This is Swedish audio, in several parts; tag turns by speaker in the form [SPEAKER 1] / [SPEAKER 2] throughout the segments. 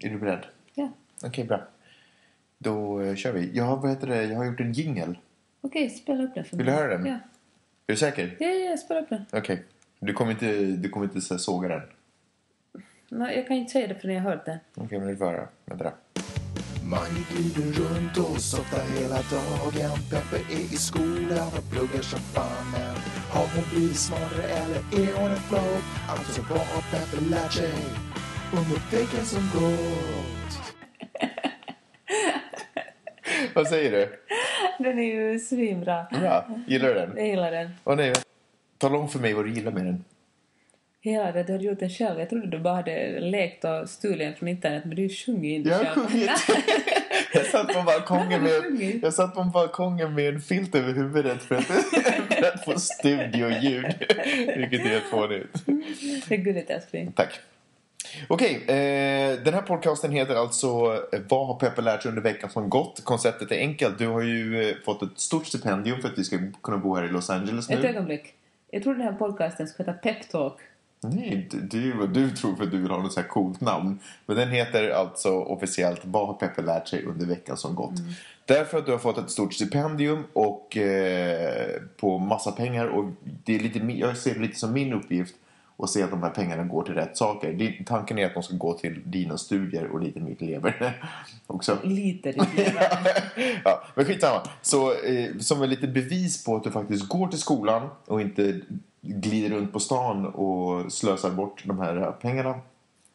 [SPEAKER 1] Är du beredd?
[SPEAKER 2] Ja.
[SPEAKER 1] Okej, bra. Då eh, kör vi. Jag har, vad heter det? Jag har gjort en jingle.
[SPEAKER 2] Okej, spela upp den för
[SPEAKER 1] Vill
[SPEAKER 2] mig.
[SPEAKER 1] du höra den?
[SPEAKER 2] Ja.
[SPEAKER 1] Är du säker?
[SPEAKER 2] Ja, ja, ja, spela upp den.
[SPEAKER 1] Okej. Du kommer inte, du kommer inte så här såga den.
[SPEAKER 2] Nej, jag kan inte säga det förrän jag har hört den.
[SPEAKER 1] Okej, men du får höra. Vänta då.
[SPEAKER 3] Man glider runt och softar hela dagen Peppe är i skolan och pluggar som fanen Har hon blivit smartare eller är hon en flopp? Alltså vad har Peppe lärt sig under veckan som gått?
[SPEAKER 1] Vad säger du?
[SPEAKER 2] Den är ju svinbra.
[SPEAKER 1] Bra. Gillar du den?
[SPEAKER 2] Jag gillar den.
[SPEAKER 1] Åh nej. Tala om för mig vad du gillar med den.
[SPEAKER 2] Hela det, du hade gjort den själv. Jag trodde du bara hade lekt och stulit den från internet, men du sjunger ju inte
[SPEAKER 1] Jag har
[SPEAKER 2] själv.
[SPEAKER 1] sjungit. Jag satt på balkongen
[SPEAKER 2] Nej,
[SPEAKER 1] med,
[SPEAKER 2] har du sjungit?
[SPEAKER 1] jag satt på balkongen med en filt över huvudet för att, för att få studioljud. Vilket är helt fånigt.
[SPEAKER 2] Det är gulligt, älskling.
[SPEAKER 1] Tack. Okej, eh, den här podcasten heter alltså eh, Vad har Peppe lärt sig under veckan som gått? Konceptet är enkelt. Du har ju eh, fått ett stort stipendium för att vi ska kunna bo här i Los Angeles
[SPEAKER 2] Ett
[SPEAKER 1] nu.
[SPEAKER 2] ögonblick. Jag trodde den här podcasten skulle heta Peptalk.
[SPEAKER 1] Nej, det- det är ju vad du tror för att du vill ha något så här coolt namn. Men den heter alltså officiellt Vad har Peppe lärt sig under veckan som gått? Därför att du har fått ett stort stipendium och eh, på massa pengar och det är lite, mi- jag ser det lite som min uppgift att se att de här pengarna går till rätt saker. Din- Tanken är att de ska gå till dina studier och lite mitt lever också.
[SPEAKER 2] Lite riktigt.
[SPEAKER 1] ja, men skitsamma. Så, eh, som en lite bevis på att du faktiskt går till skolan och inte glider runt på stan och slösar bort de här eh, pengarna.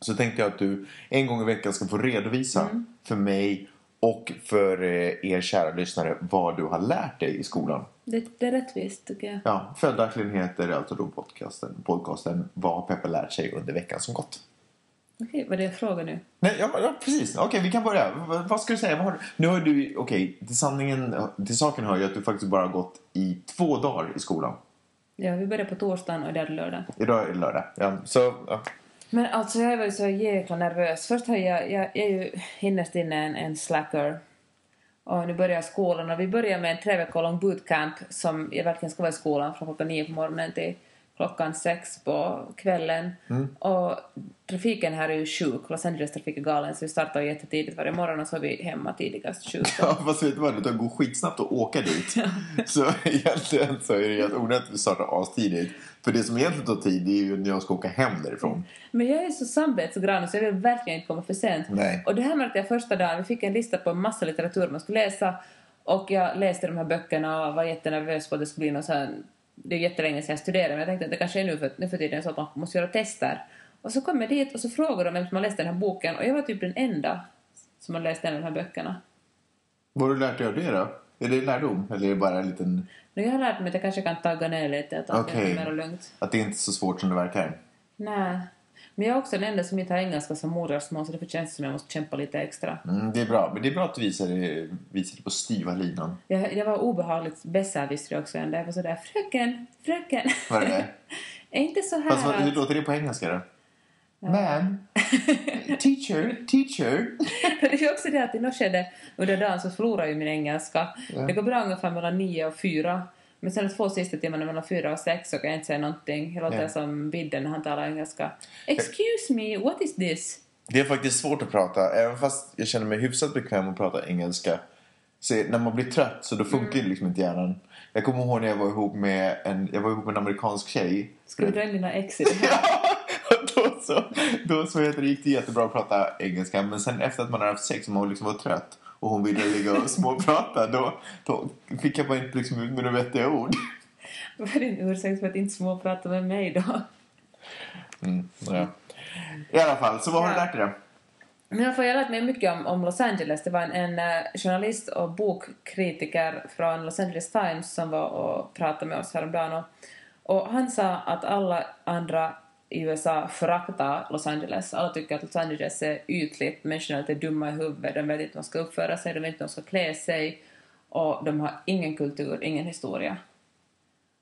[SPEAKER 1] Så tänkte jag att du en gång i veckan ska få redovisa för mig och för eh, er kära lyssnare vad du har lärt dig i skolan.
[SPEAKER 2] Det, det är rättvist, tycker jag.
[SPEAKER 1] Ja, följaktligen heter alltså då podcasten, podcasten Vad har Peppe lärt sig under veckan som gått?
[SPEAKER 2] Okej, vad är det jag frågar nu?
[SPEAKER 1] Nej, ja, ja, precis. Okej, vi kan börja. V- vad ska du säga? Vad har du... Nu har du... Okej, till sanningen... Till saken hör ju att du faktiskt bara har gått i två dagar i skolan.
[SPEAKER 2] Ja, vi börjar på torsdagen och det är lördag.
[SPEAKER 1] Idag är det lördag. Ja, så... Ja.
[SPEAKER 2] Men alltså jag var ju så jäkla nervös. Först har jag, jag, jag är ju innerst inne en, en slacker. Och nu börjar skolan och vi börjar med en tre veckor lång bootcamp som jag verkligen ska vara i skolan från klockan nio på morgonen till klockan sex på kvällen. Och trafiken här är ju sjuk. Los Angeles trafik är galen så vi startar jättetidigt varje morgon och så är vi hemma tidigast sju.
[SPEAKER 1] Ja, fast vet du vad? Det tar- går skitsnabbt att åka dit. så egentligen så är det helt onödigt att vi startar astidigt. För det som egentligen tar tid det är ju när jag ska åka hem därifrån.
[SPEAKER 2] Men jag är så samvetsgrann så jag vill verkligen inte komma för sent.
[SPEAKER 1] Nej.
[SPEAKER 2] Och det här märkte jag första dagen. Vi fick en lista på en massa litteratur man skulle läsa. Och jag läste de här böckerna och var jättenervös på att det skulle bli någon sån... Det är jättelänge sedan jag studerade men jag tänkte att det kanske är nu för, nu för tiden så att man måste göra tester. Och så kom jag dit och så frågade de vem som har läst den här boken och jag var typ den enda som har läst en av de här böckerna.
[SPEAKER 1] Vad har du lärt dig av det då? Är det lärdom? Eller är det bara en liten...
[SPEAKER 2] Men jag har lärt mig att jag kanske kan tagga ner lite och ta
[SPEAKER 1] Okej.
[SPEAKER 2] det mer lugnt.
[SPEAKER 1] Att det inte är så svårt som det verkar?
[SPEAKER 2] Nej. Men jag är också den enda som inte har engelska som modersmål så det känns som jag måste kämpa lite extra.
[SPEAKER 1] Mm, det är bra. Men det är bra att du visar det, visar det på styva linan.
[SPEAKER 2] Jag, jag var obehagligt besserwisser också. Jag var sådär fröken, fröken.
[SPEAKER 1] Var det det?
[SPEAKER 2] är inte så här
[SPEAKER 1] Fast vad, hur
[SPEAKER 2] att...
[SPEAKER 1] låter det på engelska då? Ma'am. teacher. Teacher.
[SPEAKER 2] Det är ju också det att i något skede under dagen så förlorar jag ju min engelska. Det går bra ungefär mellan nio och fyra. Men sen de två sista timmarna mellan fyra och sex så kan jag inte säga någonting. Jag låter
[SPEAKER 1] Ja.
[SPEAKER 2] som Bidden när han talar engelska. Excuse me, what is this?
[SPEAKER 1] Det är faktiskt svårt att prata. Även fast jag känner mig hyfsat bekväm att prata engelska. Så när man blir trött så då funkar det liksom inte hjärnan. Jag kommer ihåg när jag var ihop med en, jag var ihop med en amerikansk tjej.
[SPEAKER 2] Ska du dra in dina ex i det här?
[SPEAKER 1] Och då så, då så heter det, gick det jättebra att prata engelska. Men sen efter att man hade haft sex och man liksom var trött och hon ville ligga och småprata. Då, då fick jag bara inte liksom ut med några vettiga ord.
[SPEAKER 2] Vad är din ursäkt för att inte småprata med mig då?
[SPEAKER 1] Mm, ja. I alla fall, så vad har du
[SPEAKER 2] Ja.
[SPEAKER 1] lärt dig då?
[SPEAKER 2] Men jag har lärt mig mycket om, om Los Angeles. Det var en, en eh, journalist och bokkritiker från Los Angeles Times som var och pratade med oss häromdagen. Och, och han sa att alla andra i USA föraktar Los Angeles. Alla tycker att Los Angeles är ytligt, människorna är lite dumma i huvudet, de vet inte hur de ska uppföra sig, de vet inte hur de ska klä sig och de har ingen kultur, ingen historia.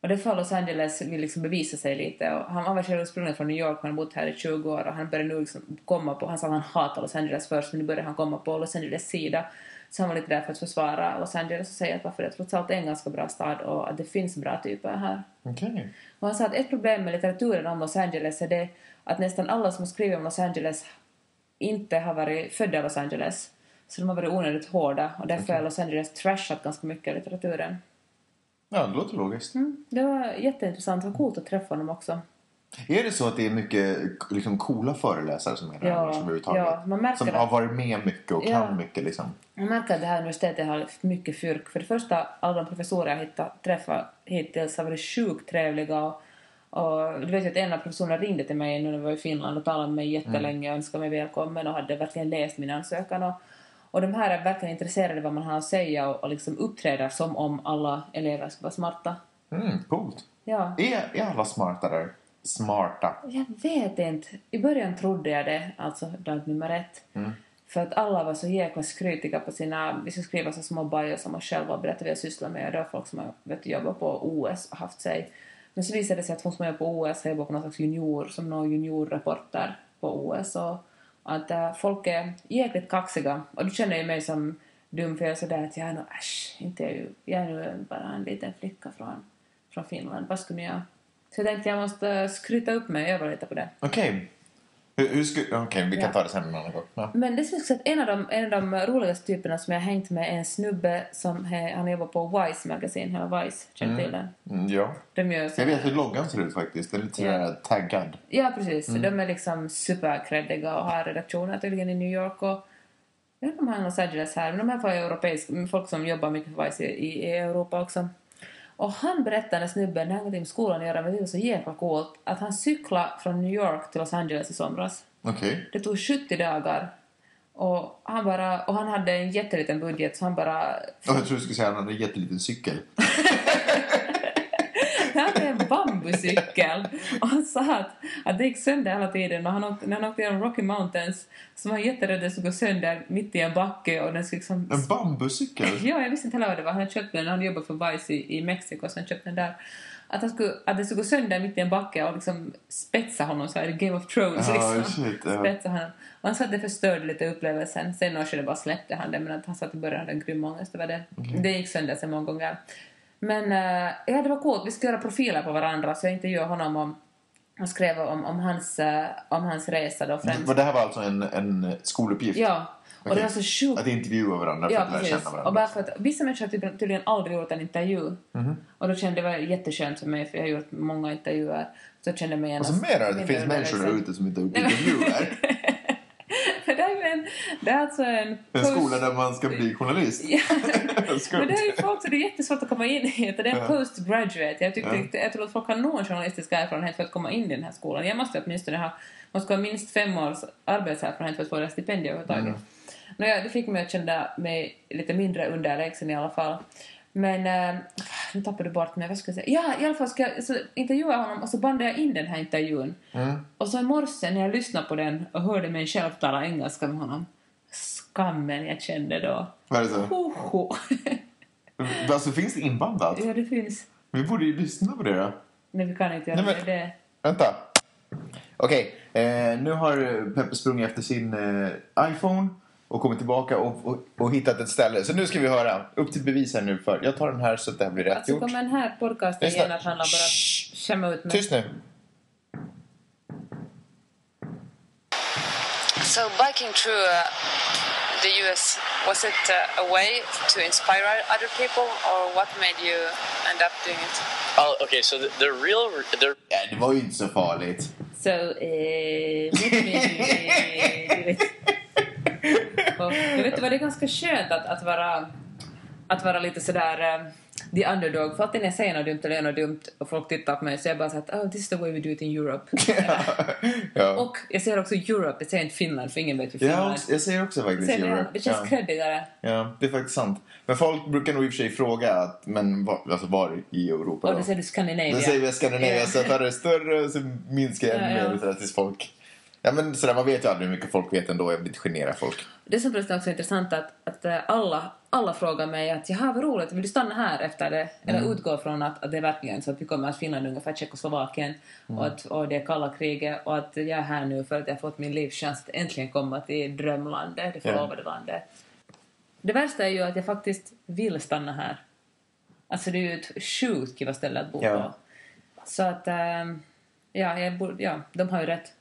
[SPEAKER 2] Och det får Los Angeles vill liksom bevisa sig lite. Och han han var själv ursprungligen från New York, han har bott här i 20 år och han började nu liksom komma på, han sa att han hatade Los Angeles först men nu började han komma på Los Angeles sida. Så han var lite där för att försvara Los Angeles och säga att varför det trots allt är en ganska bra stad och att det finns bra typer här.
[SPEAKER 1] Okej.
[SPEAKER 2] Och han sa att ett problem med litteraturen om Los Angeles är det att nästan alla som skriver om Los Angeles inte har varit födda i Los Angeles. Så de har varit onödigt hårda och därför har Los Angeles trashat ganska mycket av litteraturen.
[SPEAKER 1] Ja, det låter logiskt.
[SPEAKER 2] Mm, det var jätteintressant. Vad coolt att träffa honom också.
[SPEAKER 1] Är det så att det är mycket liksom, coola föreläsare som är där
[SPEAKER 2] Ja,
[SPEAKER 1] annars överhuvudtaget?
[SPEAKER 2] ja, man märker
[SPEAKER 1] som
[SPEAKER 2] det.
[SPEAKER 1] har varit med mycket och
[SPEAKER 2] Ja.
[SPEAKER 1] kan mycket liksom.
[SPEAKER 2] Jag märker att det här universitetet har haft mycket fyrk. För det första, alla de professorer jag hittat, träffat hittills har varit sjukt trevliga. Och, och du vet ju att en av professorerna ringde till mig när jag var i Finland och talade med mig jättelänge och önskade mig välkommen och hade verkligen läst min ansökan. Och, och de här är verkligen intresserade av vad man har att säga och, och liksom uppträder som om alla elever skulle vara smarta.
[SPEAKER 1] Mm, coolt.
[SPEAKER 2] Ja.
[SPEAKER 1] Är, är alla smarta där? Smarta.
[SPEAKER 2] Jag vet inte. I början trodde jag det, alltså dag nummer ett. För att alla var så jäkla skrytiga på sina... Vi skulle skriva så små bios om oss själva och berätta vad vi sysslar med. Och det var folk som har vet, du, jobbat på OS och haft sig. Men så visade det sig att hon som jobbar på OS har jobbat på någon slags junior, som någon juniorreporter på OS. Och att äh, folk är jäkligt kaxiga. Och du känner ju mig som dum för jag är sådär att jag är nog äsch, inte jag, är ju- jag är nu bara en liten flicka från, från Finland. Vad skulle ni göra? Så jag tänkte jag måste eh, skryta upp mig och öva lite på det.
[SPEAKER 1] Okej. Hur, hur sku... Okej, vi kan
[SPEAKER 2] Ja.
[SPEAKER 1] ta det sen en annan gång. Ja.
[SPEAKER 2] Men det syns att en av, de, en av de roligaste typerna som jag har hängt med är en snubbe som he, han jobbar på Vice Magazine, eller Vice, känner du till den?
[SPEAKER 1] Mm, ja.
[SPEAKER 2] De gör så,
[SPEAKER 1] Jag vet hur loggan ser ut faktiskt. Den är lite
[SPEAKER 2] Ja.
[SPEAKER 1] sådär taggad.
[SPEAKER 2] ja precis,
[SPEAKER 1] Mm.
[SPEAKER 2] de är liksom superkreddiga och har redaktioner tydligen i New York och jag vet inte om han har Los Angeles här, men de här får europeisk, folk som jobbar mycket för Vice i, i Europa också. Och han berättade, den här snubben, när han gick till skolan och göra, men det var så jäkla coolt, att han cyklade från New York till Los Angeles i somras.
[SPEAKER 1] Okej.
[SPEAKER 2] Det tog 70 dagar. Och han, bara, och han hade en jätteliten budget så han bara...
[SPEAKER 1] Och jag tror du skulle säga att han hade en jätteliten cykel.
[SPEAKER 2] Han hade en bambucykel. Och han sa att, att det gick sönder hela tiden. Och han åkte, när han åkte genom Rocky Mountains så var han jätterädd att den skulle gå sönder mitt i en backe och den skulle liksom...
[SPEAKER 1] En bambucykel?
[SPEAKER 2] Ja, jag visste inte heller vad det var. Han köpte den, han jobbade för Vice i, i Mexiko så han köpte den där. Att, han skulle, att den skulle gå sönder mitt i en backe och liksom spetsa honom så här, Game of Thrones
[SPEAKER 1] Ja,
[SPEAKER 2] liksom.
[SPEAKER 1] shit. Ja.
[SPEAKER 2] spetsade han. Och han sa att det förstörde lite upplevelsen. Sen några skede bara släppte han det, men att han sa att i början hade en grym ångest över det.
[SPEAKER 1] Mm.
[SPEAKER 2] Det gick sönder sig många gånger. Men eh, ja, det var coolt. Vi skulle göra profiler på varandra, så jag intervjuade honom om, och skrev om, om, hans, eh, om hans resa då främst.
[SPEAKER 1] Men Det här var alltså en, en skoluppgift?
[SPEAKER 2] Ja, och
[SPEAKER 1] Okej.
[SPEAKER 2] det var så sjukt
[SPEAKER 1] Att intervjua varandra för
[SPEAKER 2] Ja,
[SPEAKER 1] Alltså att lära
[SPEAKER 2] precis.
[SPEAKER 1] känna
[SPEAKER 2] Och
[SPEAKER 1] varandra?
[SPEAKER 2] bara för att, vissa människor har tydligen- tydligen aldrig gjort en intervju.
[SPEAKER 1] Mhm.
[SPEAKER 2] Och då kände jag det var jätteskönt för mig, för jag har gjort många intervjuer. Så kände jag mig
[SPEAKER 1] Alltså mer att det finns människor där
[SPEAKER 2] liksom?
[SPEAKER 1] ute som inte har gjort intervjuer.
[SPEAKER 2] det, här är en, det här är alltså en...
[SPEAKER 1] En skola där man ska bli journalist.
[SPEAKER 2] Ja.
[SPEAKER 1] Skumt.
[SPEAKER 2] Men det är ju folk så det är jättesvårt att komma in i. utan Det är en
[SPEAKER 1] Ja.
[SPEAKER 2] postgraduate. Jag, tyckte,
[SPEAKER 1] Ja.
[SPEAKER 2] jag tror att folk har någon journalistisk erfarenhet för att komma in i den här skolan. Jag måste åtminstone ha, måste ha minst fem års arbetserfarenhet för att få det här stipendiet överhuvudtaget.
[SPEAKER 1] Mm.
[SPEAKER 2] Nåja, det fick mig att känna mig lite mindre underlägsen i alla fall. Men eh, nu tappade du bort mig. Vad ska jag säga? Ja, i alla fall ska jag så intervjua honom och så bandade jag in den här intervjun.
[SPEAKER 1] Mm.
[SPEAKER 2] Och så i morse när jag lyssnade på den och hörde mig själv tala engelska med honom. Skammen jag kände då.
[SPEAKER 1] Vad är det så?
[SPEAKER 2] Hoho.
[SPEAKER 1] Alltså finns det inbandat?
[SPEAKER 2] Ja, det finns.
[SPEAKER 1] Vi borde ju lyssna på det då.
[SPEAKER 2] Nej, vi kan inte göra
[SPEAKER 1] Nej, men-
[SPEAKER 2] det. det.
[SPEAKER 1] Vänta. Okej, eh, nu har Peppe sprungit efter sin eh, iPhone och kommit tillbaka och, och, och hittat ett ställe. Så nu ska vi höra. Upp till bevis här nu. för Jag tar den här så att det här blir rätt
[SPEAKER 2] Alltså
[SPEAKER 1] gjort.
[SPEAKER 2] kommer den här podcasten
[SPEAKER 1] Lyssna.
[SPEAKER 2] igen att handla bara
[SPEAKER 1] Shh.
[SPEAKER 2] att skämma ut mig.
[SPEAKER 1] Tyst nu.
[SPEAKER 4] So biking through uh, the US was it uh, a way to inspire other people, or what made you end up doing it?
[SPEAKER 5] Oh, okay. So the, the real, the
[SPEAKER 1] Ja, det var ju inte så farligt.
[SPEAKER 2] So, eh... mot mig, eh, du vet. Och, jag vet du vad, det är ganska skönt att, att vara att vara lite sådär eh, the underdog. För alltid när jag säger något dumt eller gör något dumt och folk tittar på mig så är jag bara såhär oh this is the way we do it in Europe.
[SPEAKER 1] ja.
[SPEAKER 2] och jag säger också Europe, jag säger inte Finland för ingen vet ju Finland
[SPEAKER 1] Jag,
[SPEAKER 2] är.
[SPEAKER 1] också, jag säger också faktiskt
[SPEAKER 2] Säger
[SPEAKER 1] Europe.
[SPEAKER 2] det, det känns
[SPEAKER 1] ja.
[SPEAKER 2] creddigare.
[SPEAKER 1] ja, det är faktiskt sant. Men folk brukar nog i och för sig fråga att, men var, alltså var i Europa
[SPEAKER 2] Och
[SPEAKER 1] då?
[SPEAKER 2] då säger du Scandinavia.
[SPEAKER 1] Då säger vi Skandinavien,
[SPEAKER 2] Ja.
[SPEAKER 1] så tar det större och så minskar jag ännu
[SPEAKER 2] Ja, ja.
[SPEAKER 1] mer sådär tills folk... Ja men sådär, man vet ju aldrig hur mycket folk vet ändå, jag vill inte genera folk.
[SPEAKER 2] Det som förresten också är intressant att, att eh, alla, alla frågar mig att jaha vad roligt, vill du stanna här efter det? Eller utgå från att, att det är verkligen så att vi kommer att Finland ungefär Tjeckoslovakien och, att, och det är kalla kriget och att jag är här nu för att jag har fått min livschans att äntligen komma till drömlandet, det förlovade landet. Det värsta är ju att jag faktiskt vill stanna här. Alltså det är ju ett sjukt kiva ställe att bo
[SPEAKER 1] Ja.
[SPEAKER 2] på. Så att, ehm, ja, jag borde, ja, de har ju rätt.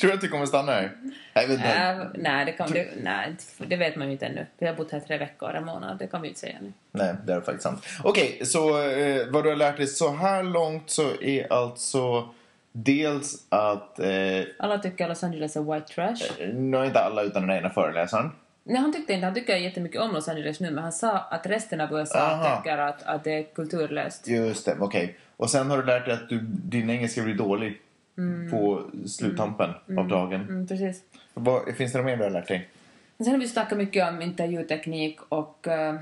[SPEAKER 1] Tror du att du kommer stanna här? Jag vet inte.
[SPEAKER 2] Äh, nej, det, kan, det, nej, inte- det vet man ju inte ännu. Vi har bott här tre veckor, en månad. Det kan vi ju inte säga nu.
[SPEAKER 1] Nej, det är faktiskt sant. Okej, så eh, vad du har lärt dig så här långt så är alltså dels att, eh,
[SPEAKER 2] Alla tycker Los Angeles är white trash.
[SPEAKER 1] nu inte alla utan den ena föreläsaren.
[SPEAKER 2] Nej, han tyckte inte. Han tycker jättemycket om Los Angeles nu, men han sa att resten av USA
[SPEAKER 1] Aha.
[SPEAKER 2] tycker att, att det är kulturlöst.
[SPEAKER 1] Just det, okej. Och sen har du lärt dig att du, din engelska blir dålig på sluttampen av dagen.
[SPEAKER 2] Mm, precis.
[SPEAKER 1] Vad, finns det något mer du har lärt dig?
[SPEAKER 2] Sen har vi snackat mycket om intervjuteknik och, eh,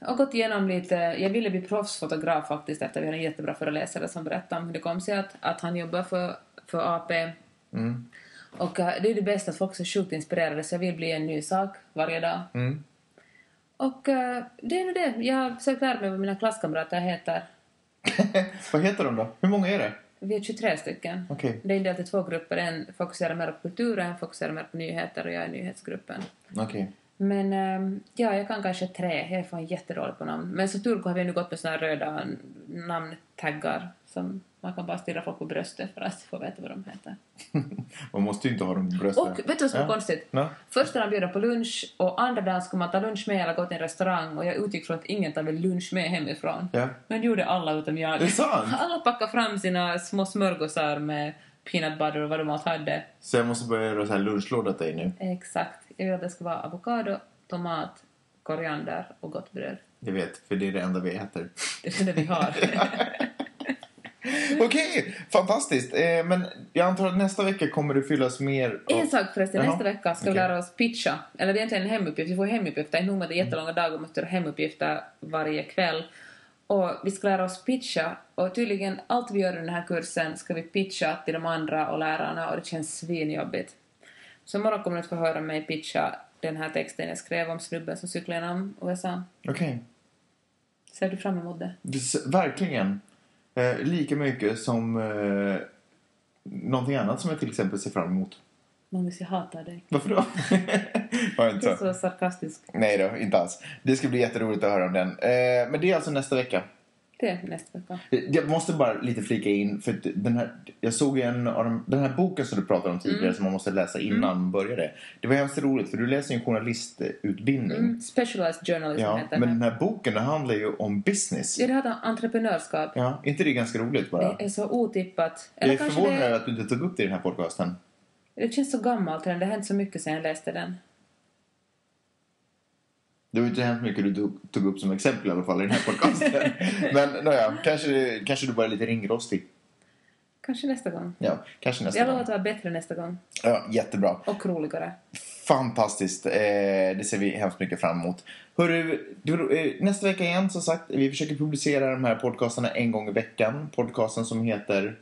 [SPEAKER 2] och gått igenom lite. Jag ville bli proffsfotograf faktiskt efter vi hade en jättebra föreläsare som berättade om hur det kom sig att, att han jobbar för, för AP. Och eh, det är det bästa att folk är så sjukt inspirerade så jag vill bli en ny sak varje dag. Och eh, det är nog det. Jag har sökt lära mig vad mina klasskamrater heter.
[SPEAKER 1] vad heter de då? Hur många är det?
[SPEAKER 2] Vi är 23 stycken.
[SPEAKER 1] Okej.
[SPEAKER 2] Det är indelat i två grupper. En fokuserar mer på kultur och en fokuserar mer på nyheter och jag är i nyhetsgruppen.
[SPEAKER 1] Okej.
[SPEAKER 2] Men ehm, ja, jag kan kanske tre. Jag är fan jättedålig på namn. Men som tur går har vi nu gått med såna här röda n- namntaggar som man kan bara stirra folk på bröstet för att få veta vad de heter.
[SPEAKER 1] Man måste ju inte ha dem på bröstet.
[SPEAKER 2] Och vet du vad som var konstigt?
[SPEAKER 1] Ja.
[SPEAKER 2] Första dagen bjöd jag på lunch och andra dagen skulle man ta lunch med eller gå till en restaurang och jag utgick från att ingen tar väl lunch med hemifrån.
[SPEAKER 1] Ja.
[SPEAKER 2] Men det gjorde alla utom jag.
[SPEAKER 1] Det är sant.
[SPEAKER 2] Alla packade fram sina små smörgåsar med peanut butter och vad de allt hade.
[SPEAKER 1] Så jag måste börja göra så här lunchlåda till dig nu.
[SPEAKER 2] Exakt. Jag ville att det skulle vara avokado, tomat, koriander och gott bröd.
[SPEAKER 1] Jag vet, för det är det enda vi äter.
[SPEAKER 2] Det är det vi har. Mm.
[SPEAKER 1] Okej, fantastiskt. Eh, men jag antar att nästa vecka kommer det fyllas mer... av-
[SPEAKER 2] en sak förresten,
[SPEAKER 1] Jaha.
[SPEAKER 2] nästa vecka ska vi
[SPEAKER 1] Okej.
[SPEAKER 2] lära oss pitcha. Eller det är egentligen en hemuppgift, vi får hemuppgifter. Inte nog med att det är jättelånga dagar och måste göra hemuppgifter varje kväll. Och vi ska lära oss pitcha. Och tydligen allt vi gör i den här kursen ska vi pitcha till de andra och lärarna och det känns svinjobbigt. Så imorgon kommer ni att få höra mig pitcha den här texten jag skrev om snubben som cyklade genom USA.
[SPEAKER 1] Okej.
[SPEAKER 2] Ser du fram emot det?
[SPEAKER 1] S- Verkligen. Eh, lika mycket som eh, någonting annat som jag till exempel ser fram emot.
[SPEAKER 2] Magnus, jag hatar dig.
[SPEAKER 1] Varför då? Var jag
[SPEAKER 2] Du är
[SPEAKER 1] inte så?
[SPEAKER 2] så sarkastisk.
[SPEAKER 1] Nej då, inte alls. Det ska bli jätteroligt att höra om den. Eh, men det är alltså nästa vecka.
[SPEAKER 2] Det är nästa vecka.
[SPEAKER 1] Eh, Jag måste bara lite flika in, för att den här, jag såg ju en av de, den här boken som du pratade om tidigare
[SPEAKER 2] Mm.
[SPEAKER 1] som man måste läsa innan man började. Det var hemskt roligt för du läser ju en journalistutbildning.
[SPEAKER 2] Mm. Specialized journalism
[SPEAKER 1] Ja,
[SPEAKER 2] heter
[SPEAKER 1] men den
[SPEAKER 2] den.
[SPEAKER 1] här boken den handlar ju om business.
[SPEAKER 2] Ja, det hade entreprenörskap.
[SPEAKER 1] Ja, inte det är ganska roligt bara?
[SPEAKER 2] Det är så otippat.
[SPEAKER 1] Jag
[SPEAKER 2] Eller
[SPEAKER 1] är
[SPEAKER 2] kanske
[SPEAKER 1] förvånad över
[SPEAKER 2] det,
[SPEAKER 1] att du inte tog upp det i den här podcasten.
[SPEAKER 2] det känns så gammalt redan. Det har hänt så mycket sedan jag läste den.
[SPEAKER 1] Det har ju inte hänt mycket du tog- tog upp som exempel i alla fall i den här podcasten. men nåja, kanske, kanske du bara är lite ringrostig.
[SPEAKER 2] Kanske nästa gång.
[SPEAKER 1] Ja, kanske nästa
[SPEAKER 2] Jag lovar
[SPEAKER 1] gång.
[SPEAKER 2] att vara bättre nästa gång.
[SPEAKER 1] Ja, jättebra.
[SPEAKER 2] Och roligare.
[SPEAKER 1] Fantastiskt. Eh, det ser vi hemskt mycket fram emot. Hörru, du, eh, nästa vecka igen som sagt. Vi försöker publicera de här podcasterna en gång i veckan. Podcasten som heter...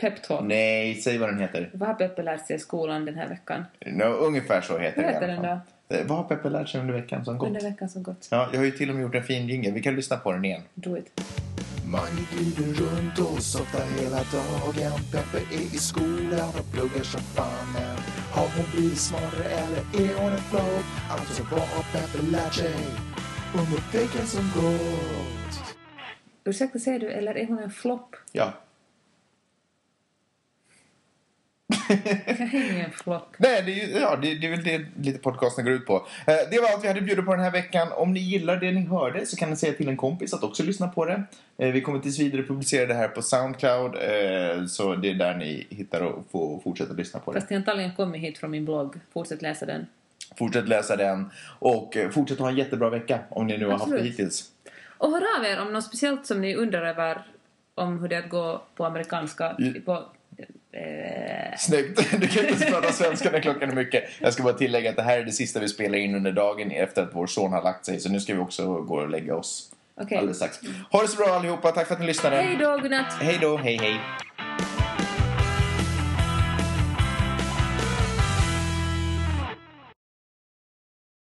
[SPEAKER 2] Peptalk.
[SPEAKER 1] Nej, säg vad den heter.
[SPEAKER 2] Vad har Peppe lärt sig i skolan den här veckan?
[SPEAKER 1] No, ungefär så heter det
[SPEAKER 2] Vad
[SPEAKER 1] i
[SPEAKER 2] heter
[SPEAKER 1] alla fall. Eh, Vad har Peppe lärt sig under veckan som gått?
[SPEAKER 2] Under veckan som gått.
[SPEAKER 1] Ja, jag har ju till och med gjort en fin jingel. Vi kan lyssna på den igen.
[SPEAKER 2] Do it.
[SPEAKER 3] Mange glider runt och softar hela dagen Peppe är i skolan och pluggar som fanen Har hon blivit smartare eller är hon en flop? Alltså vad har Peppe lärt sig under veckan som gått?
[SPEAKER 2] Ursäkta, säger du, eller är hon en flopp?
[SPEAKER 1] Ja.
[SPEAKER 2] Jag är ingen flopp.
[SPEAKER 1] Nej, det är, ju, ja, det, det är väl det lite podcasten går ut på. Eh, det var allt vi hade bjudit på den här veckan. Om ni gillar det ni hörde så kan ni säga till en kompis att också lyssna på det. Eh, vi kommer tills vidare publicera det här på Soundcloud. Eh, så det är där ni hittar och får fortsätta lyssna på det.
[SPEAKER 2] Fast jag har antagligen kommit hit från min blogg. Fortsätt läsa den.
[SPEAKER 1] Fortsätt läsa den och eh, fortsätt ha en jättebra vecka om ni nu har haft det
[SPEAKER 2] Absolut.
[SPEAKER 1] hittills.
[SPEAKER 2] Och hör av er om något speciellt som ni undrar över om hur det är att gå på amerikanska.
[SPEAKER 1] Mm.
[SPEAKER 2] På, eh,
[SPEAKER 1] Snyggt! Du kan inte prata svenska när klockan är mycket. Jag ska bara tillägga att det här är det sista vi spelar in under dagen efter att vår son har lagt sig. Så nu ska vi också gå och lägga oss
[SPEAKER 2] Okej.
[SPEAKER 1] alldeles strax. Ha det så bra allihopa. Tack för att ni lyssnade.
[SPEAKER 2] Hej då, godnatt!
[SPEAKER 1] Hej då, hej hej.